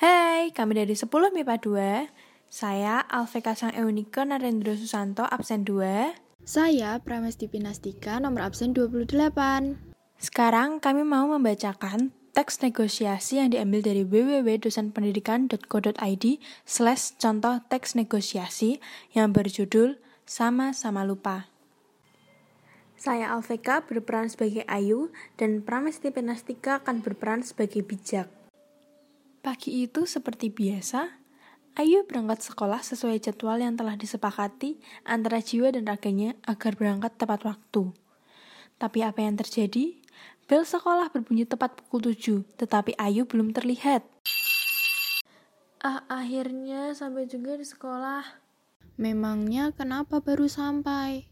Hai, kami dari 10 MIPA 2. Saya Alveka Sang Eunike Narendra Susanto absen 2. Saya Pramesti Pinastika nomor absen 28. Sekarang kami mau membacakan teks negosiasi yang diambil dari www.dosenpendidikan.co.id slash contoh teks negosiasi yang berjudul Sama-sama Lupa. Saya Alveka berperan sebagai Ayu dan Pramesti Penastika akan berperan sebagai Bijak. Pagi itu seperti biasa, Ayu berangkat sekolah sesuai jadwal yang telah disepakati antara jiwa dan raganya agar berangkat tepat waktu. Tapi apa yang terjadi? Bel sekolah berbunyi tepat pukul 7, tetapi Ayu belum terlihat. Ah, akhirnya sampai juga di sekolah. Memangnya kenapa baru sampai?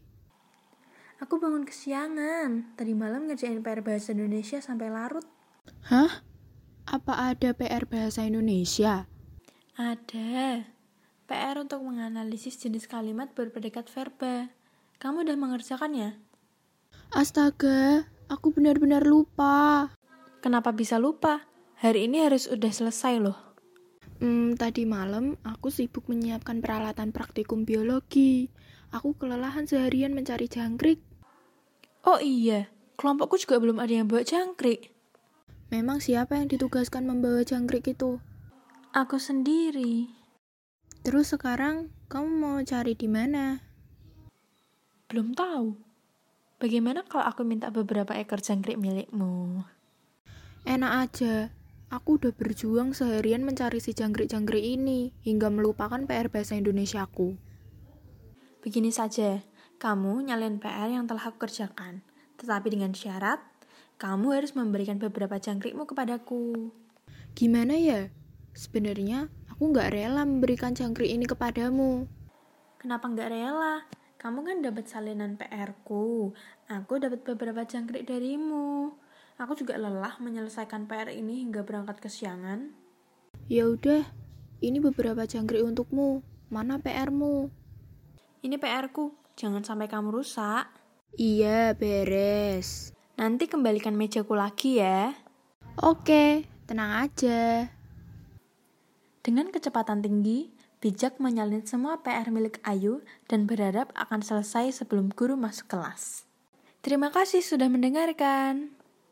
Aku bangun kesiangan. Tadi malam ngerjain PR Bahasa Indonesia sampai larut. Hah? Apa ada PR Bahasa Indonesia? Ada. PR untuk menganalisis jenis kalimat berpredikat verba. Kamu udah ya? mengerjakannya? Astaga, aku benar-benar lupa. Kenapa bisa lupa? Hari ini harus udah selesai loh. Hmm, tadi malam aku sibuk menyiapkan peralatan praktikum biologi. Aku kelelahan seharian mencari jangkrik. Oh iya, kelompokku juga belum ada yang bawa jangkrik. Memang siapa yang ditugaskan membawa jangkrik itu? Aku sendiri. Terus sekarang kamu mau cari di mana? Belum tahu. Bagaimana kalau aku minta beberapa ekor jangkrik milikmu? Enak aja. Aku udah berjuang seharian mencari si jangkrik-jangkrik ini hingga melupakan PR bahasa Indonesia aku. Begini saja, kamu nyalain PR yang telah aku kerjakan. Tetapi dengan syarat, kamu harus memberikan beberapa jangkrikmu kepadaku. Gimana ya? Sebenarnya aku nggak rela memberikan jangkrik ini kepadamu. Kenapa nggak rela? Kamu kan dapat salinan PR-ku. Aku dapat beberapa jangkrik darimu. Aku juga lelah menyelesaikan PR ini hingga berangkat kesiangan. Ya udah, ini beberapa jangkrik untukmu. Mana PR-mu? Ini PR-ku, jangan sampai kamu rusak. Iya, beres. Nanti kembalikan mejaku lagi ya. Oke, tenang aja. Dengan kecepatan tinggi, Bijak menyalin semua PR milik Ayu dan berharap akan selesai sebelum guru masuk kelas. Terima kasih sudah mendengarkan.